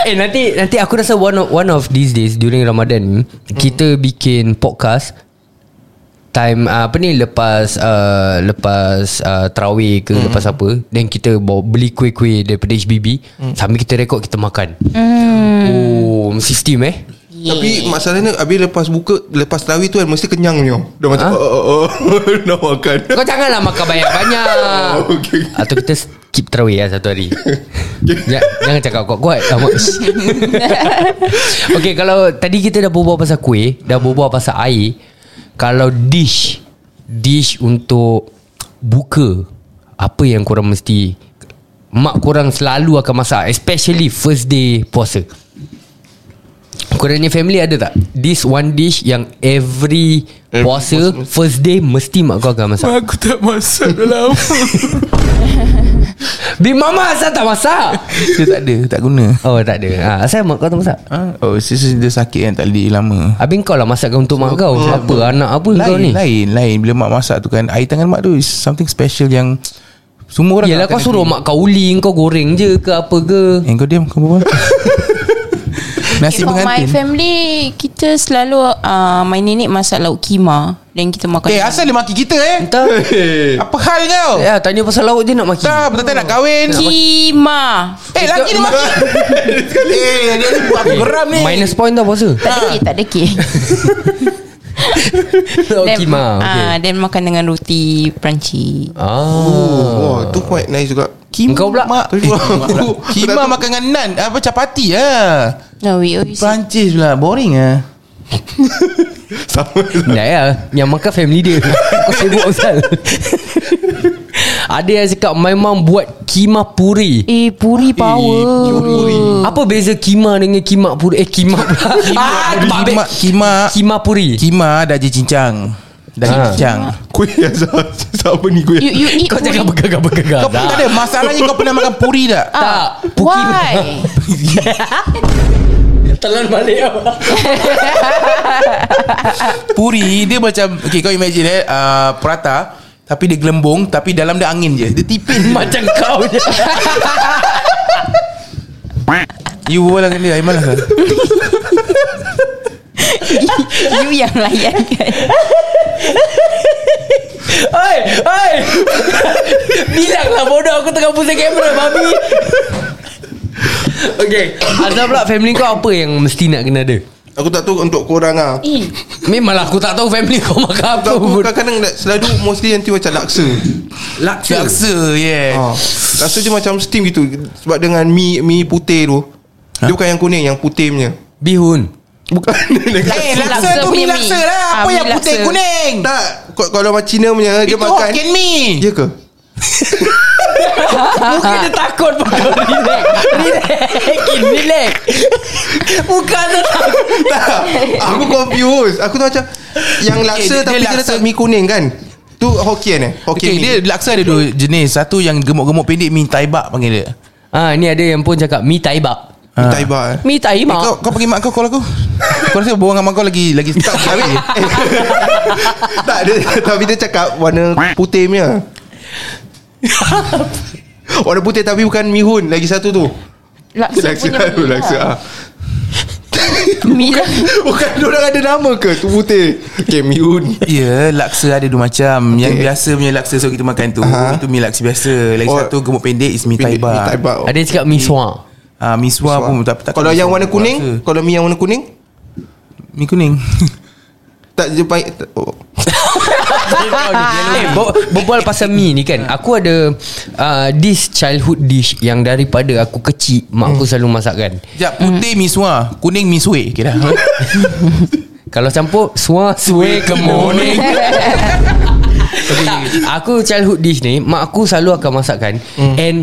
Speaker 2: Eh nanti nanti aku rasa one of, one of these days during Ramadan ni
Speaker 6: Hmm.
Speaker 2: kita bikin podcast time uh, apa ni lepas uh, lepas uh, tarawih ke
Speaker 6: Hmm.
Speaker 2: lepas apa then kita bawa beli kuih-kuih daripada HBB
Speaker 6: Hmm.
Speaker 2: sambil kita rekod kita makan. Oh, sistem eh.
Speaker 6: yeah. Tapi masalahnya Habis lepas buka Lepas tarawih tu kan Mesti kenyang ni oh. Dah macam
Speaker 2: Ha?
Speaker 6: oh, oh, oh. Nak makan
Speaker 2: Kau janganlah makan banyak-banyak
Speaker 6: Oh, okay.
Speaker 2: Atau kita skip terawih lah satu hari ja, Jangan cakap kuat-kuat Amat Okay kalau Tadi kita dah berbual pasal kuih Dah berbual pasal air Kalau dish Dish untuk Buka Apa yang korang mesti Mak korang selalu akan masak Especially first day puasa Korang ni family ada tak? This one dish yang every puasa First day mesti mak kau akan masak
Speaker 3: Aku tak masak dalam
Speaker 2: Big Mama asal tak masak
Speaker 3: Dia tak ada Tak guna
Speaker 2: Oh tak ada ha, Asal mak kau tak masak
Speaker 3: ha? Oh sis dia sakit kan Tak boleh lama
Speaker 2: Habis kau lah masakkan untuk mak kau Apa anak apa
Speaker 3: lain,
Speaker 2: kau ni
Speaker 3: Lain lain Bila mak masak tu kan Air tangan mak tu Is something special yang Semua orang
Speaker 2: Yelah
Speaker 3: nak
Speaker 2: kau
Speaker 3: kena
Speaker 2: suruh
Speaker 3: pergi.
Speaker 2: mak kau uling Kau goreng je ke apa ke
Speaker 3: Eh kau diam kau berbual Nasi
Speaker 5: For my
Speaker 3: pengantin
Speaker 5: family Kita selalu uh, My nenek masak lauk kima Dan kita makan
Speaker 3: Eh asal dia maki kita eh
Speaker 2: Entah
Speaker 3: Apa hal kau
Speaker 2: Ya tanya pasal laut je nak maki
Speaker 3: Tak betul nak kahwin
Speaker 5: Kima
Speaker 3: Eh laki dia maki Eh dia ni buat aku geram ni
Speaker 2: Minus point tau puasa
Speaker 5: Tak
Speaker 3: Ah.
Speaker 5: ada kek Tak ada kek
Speaker 3: Oh,
Speaker 2: Laut kima okay.
Speaker 5: ah, Dan makan dengan roti Perancis
Speaker 2: Ah.
Speaker 6: Wah Oh, tu quite nice juga
Speaker 3: Kim
Speaker 2: Engkau pula.
Speaker 3: mak. Eh, Kima makan dengan nan Apa capati lah
Speaker 5: No we always
Speaker 3: Perancis pula Boring lah
Speaker 6: Sama
Speaker 2: Dah ya Yang makan family dia Kau sibuk pasal Ada yang cakap My mom buat kima puri
Speaker 5: Eh puri
Speaker 6: Oh.
Speaker 5: power
Speaker 2: Apa beza kima dengan kima puri Eh kima pula Ah,
Speaker 3: Kima
Speaker 2: babek.
Speaker 3: Kima
Speaker 2: Kima puri
Speaker 3: Kima daging cincang Daging
Speaker 2: Ha.
Speaker 3: cincang
Speaker 6: Kuih asal Sama ni kuih
Speaker 5: You, you eat
Speaker 2: Kau
Speaker 5: puri
Speaker 2: jangan bergegar-bergegar
Speaker 3: Kau pun tak ada Masalahnya kau pernah makan puri tak
Speaker 2: tak. Puki-
Speaker 5: Why?
Speaker 2: Telan balik
Speaker 3: Puri dia macam Okay kau imagine eh uh, Prata Tapi dia gelembung Tapi dalam dia angin je Dia tipin
Speaker 2: Macam kau je
Speaker 3: You berbual dengan dia I malas lah
Speaker 5: you yang layan kan
Speaker 2: Oi Oi Bilanglah bodoh Aku tengah pusing kamera Babi Okay Azam pula family kau apa yang mesti nak kena ada
Speaker 6: Aku tak tahu untuk korang lah
Speaker 2: Memanglah aku tak tahu family kau makan apa
Speaker 6: Aku kadang-kadang nak- selalu Mostly nanti macam laksa
Speaker 2: Laksa
Speaker 3: Laksa Oh. yeah
Speaker 6: ha. Laksa dia macam steam gitu Sebab dengan mi mi putih tu Dia bukan yang kuning Yang putih punya
Speaker 2: Bihun
Speaker 6: Ha? Bukan
Speaker 3: Eh laksa
Speaker 5: Laksa
Speaker 3: tu mi
Speaker 5: punya mi.
Speaker 3: laksa lah Apa
Speaker 5: Ah, mi
Speaker 3: yang putih
Speaker 5: laksa.
Speaker 3: kuning
Speaker 6: Tak Kalau macam Cina punya Dia
Speaker 3: Itu
Speaker 6: makan
Speaker 3: Hokkien mi
Speaker 6: Ya ke?
Speaker 2: Mungkin dia takut pun kau Relax Relax Kin, Relax Muka tu tak
Speaker 6: Tak Aku confused Aku tu macam Yang laksa
Speaker 3: Eh, dia-
Speaker 6: Tapi
Speaker 3: dia
Speaker 6: dia,
Speaker 3: laksa-
Speaker 6: letak mi kuning kan Tu Hokkien eh
Speaker 3: Okay,
Speaker 6: Hokkien mi.
Speaker 3: dia laksa ada dua jenis. Satu yang gemuk-gemuk pendek min taibak panggil dia.
Speaker 2: Ah, ni ada yang pun cakap Mi tai bak
Speaker 6: Mi Tai Bak eh.
Speaker 2: Mi tai
Speaker 3: Kau
Speaker 2: mak
Speaker 3: kau pergi mak kau call aku. Kau rasa bohong dengan mak kau lagi lagi tak habis.
Speaker 6: Tak dia, Tapi dia cakap Warna putih punya Warna putih tapi bukan mihun Lagi satu tu
Speaker 5: Laksa, punya
Speaker 6: tu,
Speaker 5: benda
Speaker 6: Laksa
Speaker 5: lah.
Speaker 6: ah.
Speaker 5: Mi lah
Speaker 6: Bukan diorang ada nama ke Tu putih Okay mihun
Speaker 3: Ya, laksa ada dua macam. Yang biasa punya laksa so kita makan tu.
Speaker 6: Aha.
Speaker 3: Itu mi laksa biasa. Lagi
Speaker 6: Oh.
Speaker 3: satu gemuk pendek is mi
Speaker 6: Mi Tai
Speaker 3: taibak.
Speaker 6: Bak
Speaker 2: Ada yang cakap Mi sua
Speaker 3: Ah, mi suar pun tak tak.
Speaker 6: Kalau yang warna kuning Kalau mi yang warna kuning
Speaker 3: mi kuning.
Speaker 6: Tak dia baik tak- oh.
Speaker 2: Eh, ber- berbual pasal mi ni kan Aku ada uh, This childhood dish Yang daripada aku kecil Mak aku selalu kan. masakkan
Speaker 3: Sekejap putih mi suar, kuning mi suwe. Okay dah.
Speaker 2: Kalau campur Sua sue kemuning Aku childhood dish ni Mak aku selalu akan masakkan mm. And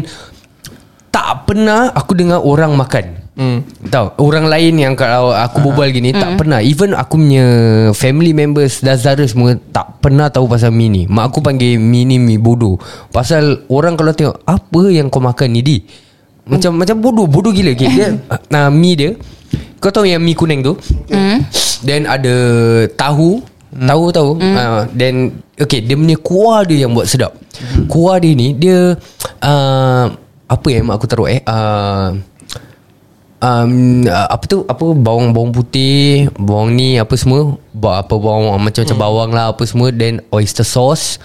Speaker 2: Tak pernah Aku dengar orang makan mm. Tahu Orang lain yang Kalau aku berbual gini mm. Tak pernah Even aku punya Family members Dan saudara semua Tak pernah tahu pasal mi ni Mak aku panggil mi ni mi bodoh Pasal orang kalau tengok Apa yang kau makan ni di Macam macam bodoh Bodoh gila okay, Dia nah, Mi dia Kau tahu yang mi kuning tu Then ada tahu Tahu tahu mm. uh, Then Okay dia punya kuah dia yang buat sedap Kuah dia ni Dia uh, Apa yang mak aku taruh eh uh, um, uh, Apa tu Apa Bawang-bawang putih Bawang ni apa semua ba, Apa bawang Macam-macam bawang lah Apa semua Then oyster sauce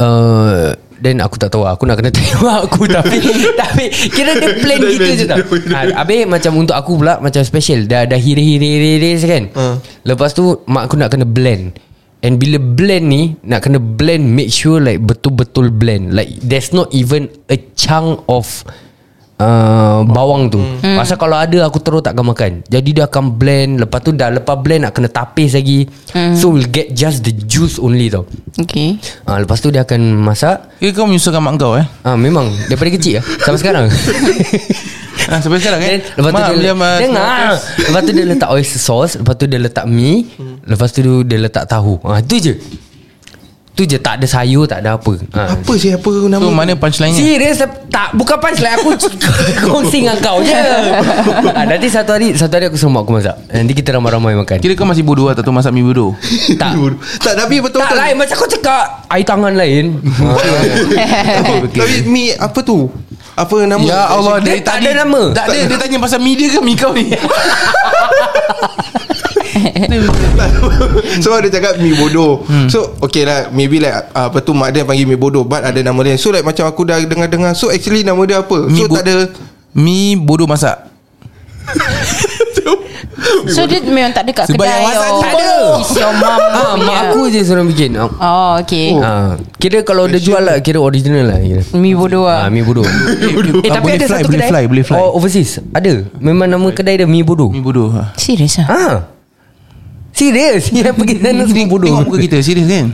Speaker 2: uh, Then aku tak tahu lah. Aku nak kena tanya mak aku Tapi Tapi Kira dia plan gitu je tau ha, Habis macam untuk aku pula Macam special Dah dah hiri-hiri-hiri kan Lepas tu Mak aku nak kena blend And bila blend ni Nak kena blend Make sure like Betul-betul blend Like there's not even A chunk of Uh, bawang tu hmm. Pasal kalau ada Aku terus takkan makan Jadi dia akan blend Lepas tu dah Lepas blend nak kena tapis lagi So we'll get just the juice only tau
Speaker 5: Okay
Speaker 2: Ah ha, lepas tu dia akan masak.
Speaker 3: Eh kau menyusahkan mak kau eh.
Speaker 2: Ah ha, memang daripada kecil lah sampai sekarang.
Speaker 3: Ah, sampai sekarang kan.
Speaker 2: Then, lepas tu
Speaker 3: Mak,
Speaker 2: dia,
Speaker 3: William, ah,
Speaker 2: dengar. Lepas tu dia letak oyster sauce, lepas tu dia letak mi, lepas tu dia letak tahu. Ah ha, tu je. Tu je tak ada sayur, tak ada apa. Ha.
Speaker 6: Apa sih apa nama
Speaker 3: So mana punchline dia?
Speaker 2: Serius tak bukan punchline aku kongsi dengan kau je. ha, nanti satu hari satu hari aku suruh mak aku masak. Nanti kita ramai-ramai makan.
Speaker 3: Kira kau masih bodoh atau masak mi bodoh?
Speaker 2: Tak.
Speaker 6: Tak tapi betul
Speaker 2: Tak lain macam kau cakap air tangan lain.
Speaker 6: Tapi mi apa tu Apa nama
Speaker 3: Ya Allah
Speaker 2: Dia
Speaker 3: dari
Speaker 2: tak
Speaker 3: tadi
Speaker 2: ada nama.
Speaker 3: Tak ada Dia tanya pasal mi dia ke mi kau ni
Speaker 6: So dia cakap mi bodoh hmm. So okay lah Maybe like uh, Apa tu mak dia panggil mi bodoh But ada nama dia So like macam aku dah dengar-dengar So actually nama dia apa
Speaker 3: Mi
Speaker 6: So
Speaker 3: bo-
Speaker 6: tak ada
Speaker 3: Mi bodoh masak
Speaker 5: So dia memang tak ada kat
Speaker 3: Sebab yang
Speaker 5: kedai
Speaker 3: masak
Speaker 5: or
Speaker 3: tak ada.
Speaker 5: It's your mom
Speaker 2: Ah, mak aku je suruh bikin. Ah,
Speaker 5: Oh okay
Speaker 2: Oh. Ha, kira kalau dia jual lah Kira original lah kira.
Speaker 5: Mi bodoh
Speaker 2: Ha,
Speaker 5: lah
Speaker 2: mi bodoh Eh
Speaker 3: Ah, boleh fly, boleh fly, boleh fly.
Speaker 2: Oh overseas Ada Memang nama kedai dia Mi bodoh
Speaker 3: Mi bodoh ha.
Speaker 5: Serius lah
Speaker 2: Ha Serius Yang pergi sana semua bodoh
Speaker 3: Tengok muka kita Serius kan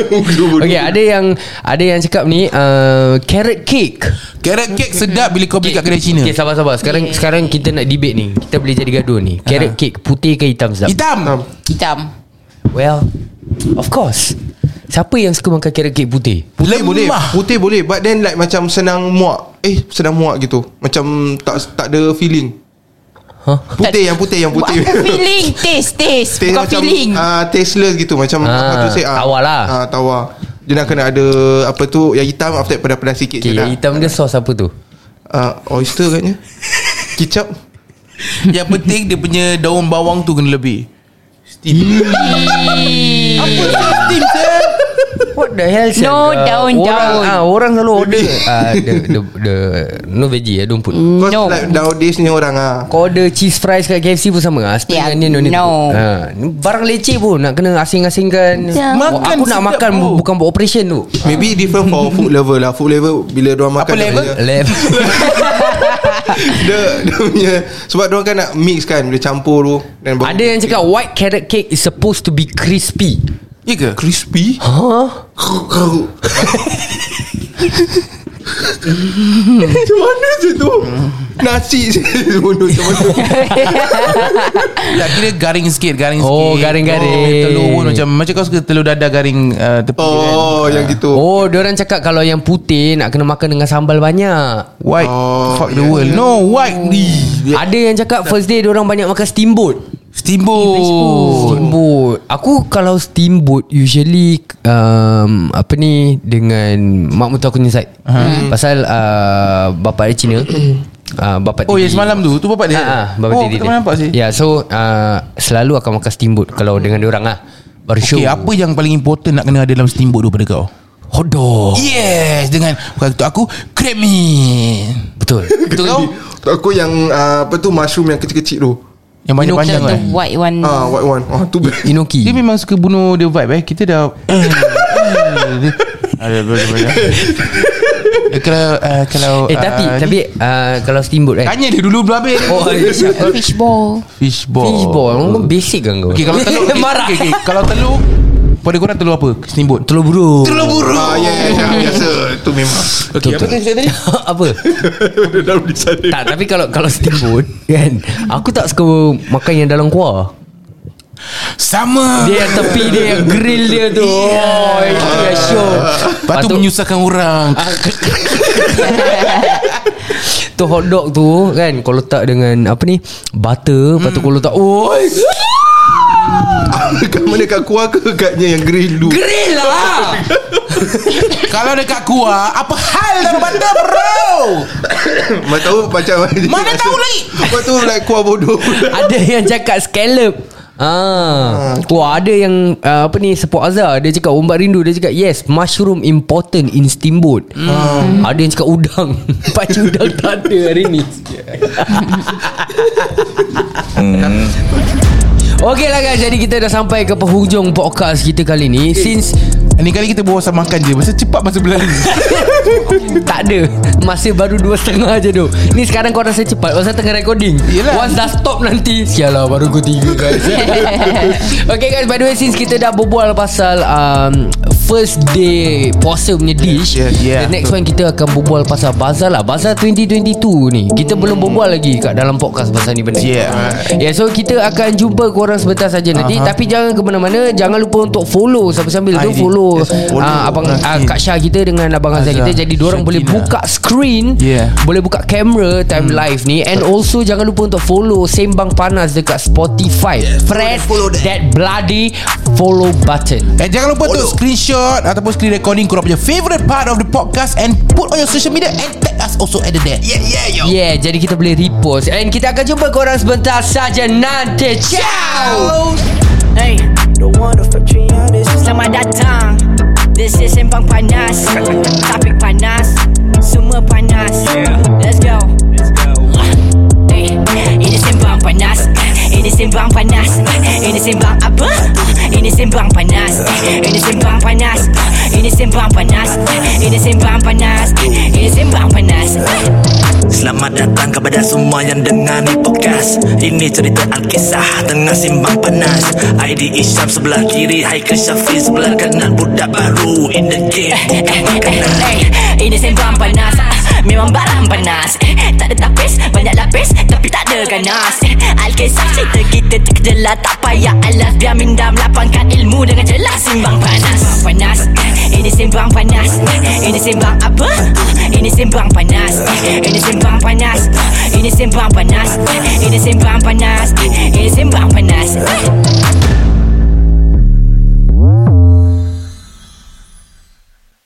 Speaker 2: Okay ada yang Ada yang cakap ni uh, Carrot cake
Speaker 3: Carrot cake sedap Bila kau beli kat kedai Cina
Speaker 2: Okay sabar-sabar Sekarang sekarang kita nak debate ni Kita boleh jadi gaduh ni
Speaker 3: Ah.
Speaker 2: Carrot cake Putih ke hitam sedap
Speaker 3: Hitam
Speaker 5: Hitam
Speaker 2: Well Of course Siapa yang suka makan carrot cake putih
Speaker 6: Putih boleh
Speaker 3: Lemah.
Speaker 6: Putih boleh But then like macam senang muak Eh senang muak gitu Macam tak tak ada feeling
Speaker 2: Huh?
Speaker 6: Putih yang putih yang putih
Speaker 5: Bukan feeling Taste taste
Speaker 6: Taste
Speaker 5: Bukan
Speaker 6: macam,
Speaker 5: feeling
Speaker 6: uh, Tasteless gitu Macam
Speaker 2: Ah,
Speaker 6: how to say,
Speaker 2: tawar lah.
Speaker 6: uh, Tawar Dia nak kena ada Apa tu Yang hitam After that pedas-pedas sikit
Speaker 2: Okay
Speaker 6: je lah
Speaker 2: yang hitam dia sos apa tu
Speaker 6: uh, Oyster katnya Kicap
Speaker 3: Yang penting dia punya Daun bawang tu kena lebih
Speaker 2: What the hell Sam?
Speaker 5: No,
Speaker 2: Uh,
Speaker 5: daun,
Speaker 2: orang,
Speaker 5: daun.
Speaker 2: ah, Orang selalu order Ah, the, the, the, No veggie eh, Don't put
Speaker 6: Cause
Speaker 5: No.
Speaker 6: like nowadays ni orang ah.
Speaker 2: Kau order cheese fries kat KFC pun sama ah, Spring
Speaker 5: Yeah,
Speaker 2: onion don't need to
Speaker 5: no.
Speaker 2: put. ah, Barang leceh pun Nak kena asing-asingkan
Speaker 5: Yeah.
Speaker 2: Makan Aku nak
Speaker 3: sedap,
Speaker 2: makan
Speaker 3: bro.
Speaker 2: bu- Bukan buat operation tu
Speaker 6: Maybe different for food level lah Food level Bila diorang makan
Speaker 3: Apa
Speaker 6: dia
Speaker 3: level?
Speaker 6: punya-
Speaker 2: Lem
Speaker 6: Dia, dia punya Sebab diorang kan nak mix kan Dia campur tu dan baru-
Speaker 2: Ada yang cakap White carrot cake Is supposed to be crispy
Speaker 3: Ya ke?
Speaker 6: Crispy
Speaker 2: Huh?
Speaker 6: Macam mana je tu Nasi je Bunuh macam mana
Speaker 3: Tak Ya, kira garing sikit Garing
Speaker 2: Oh,
Speaker 3: sikit
Speaker 2: garing-garing.
Speaker 3: oh, Telur pun macam Macam kau suka telur dadar garing uh, tepi kan
Speaker 6: Oh yang gitu
Speaker 2: Oh, diorang cakap kalau yang putih nak kena makan dengan sambal banyak.
Speaker 3: White
Speaker 6: Oh,
Speaker 3: Fuck the
Speaker 6: yeah.
Speaker 3: world No white Ih,
Speaker 2: Ada yang cakap first day diorang banyak makan steamboat.
Speaker 3: Steamboat
Speaker 2: Steamboat. Aku kalau steamboat usually um, apa ni dengan mak mertua aku ni Syed. Pasal uh, bapa dia Cina. Uh, bapa
Speaker 3: Oh
Speaker 2: tiri.
Speaker 3: ya semalam tu Tu bapak dia
Speaker 2: Ah, ah, bapa
Speaker 3: Oh
Speaker 2: tiri dia.
Speaker 3: kita mana nampak sih Hmm.
Speaker 2: Ya, yeah, so uh, selalu akan makan steamboat kalau dengan diorang lah. Baru show.
Speaker 3: Okay apa yang paling important Nak kena ada dalam steamboat tu pada kau
Speaker 2: Hodor.
Speaker 3: Yes Dengan Bukan untuk aku Kremin
Speaker 2: Betul.
Speaker 3: Untuk kau
Speaker 6: Aku yang ah, Apa tu Mushroom yang kecil-kecil tu
Speaker 3: Yang banyak
Speaker 2: Minum
Speaker 3: panjang
Speaker 5: The
Speaker 3: kan
Speaker 5: white one
Speaker 6: Ah, White one Ah, tu best
Speaker 2: Inoki.
Speaker 3: Dia memang suka bunuh the vibe eh Kita dah Eh, Kalau uh, Kalau
Speaker 2: Eh tapi
Speaker 3: ah,
Speaker 2: tapi uh, kalau steamboat kan.
Speaker 3: Tanya dia dulu belum habis
Speaker 2: Oh,
Speaker 5: Fishball
Speaker 3: Fishball
Speaker 2: fishball. Kau basic kan kau?
Speaker 3: Okay kalau telur okay,
Speaker 2: marah.
Speaker 3: okay, okay. Kalau telur Pada korang telur apa? Steamboat
Speaker 2: Telur burung.
Speaker 3: Telur burung
Speaker 6: Ah, ya, ya, ya, biasa Itu memang
Speaker 2: Okay, apa kau tadi? apa?
Speaker 6: Ada dalam di sana
Speaker 2: tak, tapi kalau kalau steamboat kan, aku tak suka makan yang dalam kuah.
Speaker 3: Sama
Speaker 2: Dia yang tepi dia yang grill dia tu. Oh, itu yang syok.
Speaker 3: Lepas tu menyusahkan orang
Speaker 2: tu hot dog tu kan kau letak dengan apa ni butter lepas tu kau letak oi
Speaker 6: Kat mana kat kuah ke Katnya yang grill tu
Speaker 2: grill lah
Speaker 3: Kalau dekat kuah Apa hal dalam benda bro
Speaker 6: Mana tahu macam
Speaker 3: Mana tahu lah. lagi?
Speaker 6: Lepas tu like kuah bodoh
Speaker 2: ada yang cakap scallop Ah, wah ada yang uh, apa ni Sepok Azhar dia cakap ombak rindu dia cakap yes mushroom important in steamboat. Hmm. Ada yang cakap udang. Pak udang tak ada hari ni. Okey lah guys Jadi kita dah sampai ke penghujung podcast kita kali ni Since
Speaker 3: Ni kali kita bawa sama makan je Masa cepat masa berlalu
Speaker 2: tak ada Masih baru dua setengah je tu Ni sekarang kau rasa cepat Pasal tengah recording
Speaker 3: Yelah.
Speaker 2: Once dah stop nanti Sialah baru kau tiga guys Okay guys by the way Since kita dah berbual pasal um, First day puasa punya dish
Speaker 3: yes, yeah.
Speaker 2: The next one kita akan berbual pasal Bazar lah Bazar 2022 ni Kita belum berbual lagi kat dalam podcast pasal ni benda
Speaker 3: Hmm. Yeah.
Speaker 2: yeah So kita akan jumpa korang sebentar saja nanti
Speaker 3: Aha.
Speaker 2: Tapi jangan ke mana-mana Jangan lupa untuk follow Sambil-sambil tu
Speaker 3: ID.
Speaker 2: follow,
Speaker 3: Yes, follow.
Speaker 2: ah, Abang ah, Kak Syah kita dengan Abang Azhar
Speaker 3: Azhar.
Speaker 2: kita Jadi diorang boleh
Speaker 3: Syakina.
Speaker 2: buka screen
Speaker 3: Yeah.
Speaker 2: Boleh buka kamera Time live ni And also jangan lupa untuk follow Sembang Panas dekat Spotify Press that bloody follow button
Speaker 3: And Eh, jangan lupa untuk screenshot Ataupun screen recording Korang punya favourite part of the podcast And put on your social media And tag us also at the dead Yeah
Speaker 2: Yeah jadi kita boleh repost And kita akan jumpa korang sebentar saja nanti Ciao
Speaker 1: Hey, Selamat datang This is Sembang Panas Topik panas Semua panas Let's go Hey, Ini Sembang Panas Ini Sembang Panas Ini Sembang apa? Ini Sembang Panas Ini Sembang Panas Ini Sembang Panas Ini Sembang Panas Ini Sembang Panas
Speaker 4: Selamat datang kepada semua yang dengar ni podcast Ini cerita Alkisah tengah simbang panas ID Isyam sebelah kiri Haikal Syafiq sebelah kanan Budak baru in the game bukan makanan
Speaker 1: Eh, Ini sembang panas Ah, Memang barang panas Eh, Tak ada tapis Banyak lapis Tapi tak ada ganas Eh, Alkisah cerita kita terkejelah Tak payah alas Biar minda melapangkan ilmu Dengan jelas Simbang panas Sembang panas Eh, Ini sembang panas Eh, Ini sembang apa? Ah, Ini sembang panas Eh, Ini sembang panas Ah, Ini sembang panas Eh, Ini sembang panas Eh, Ini sembang panas Eh.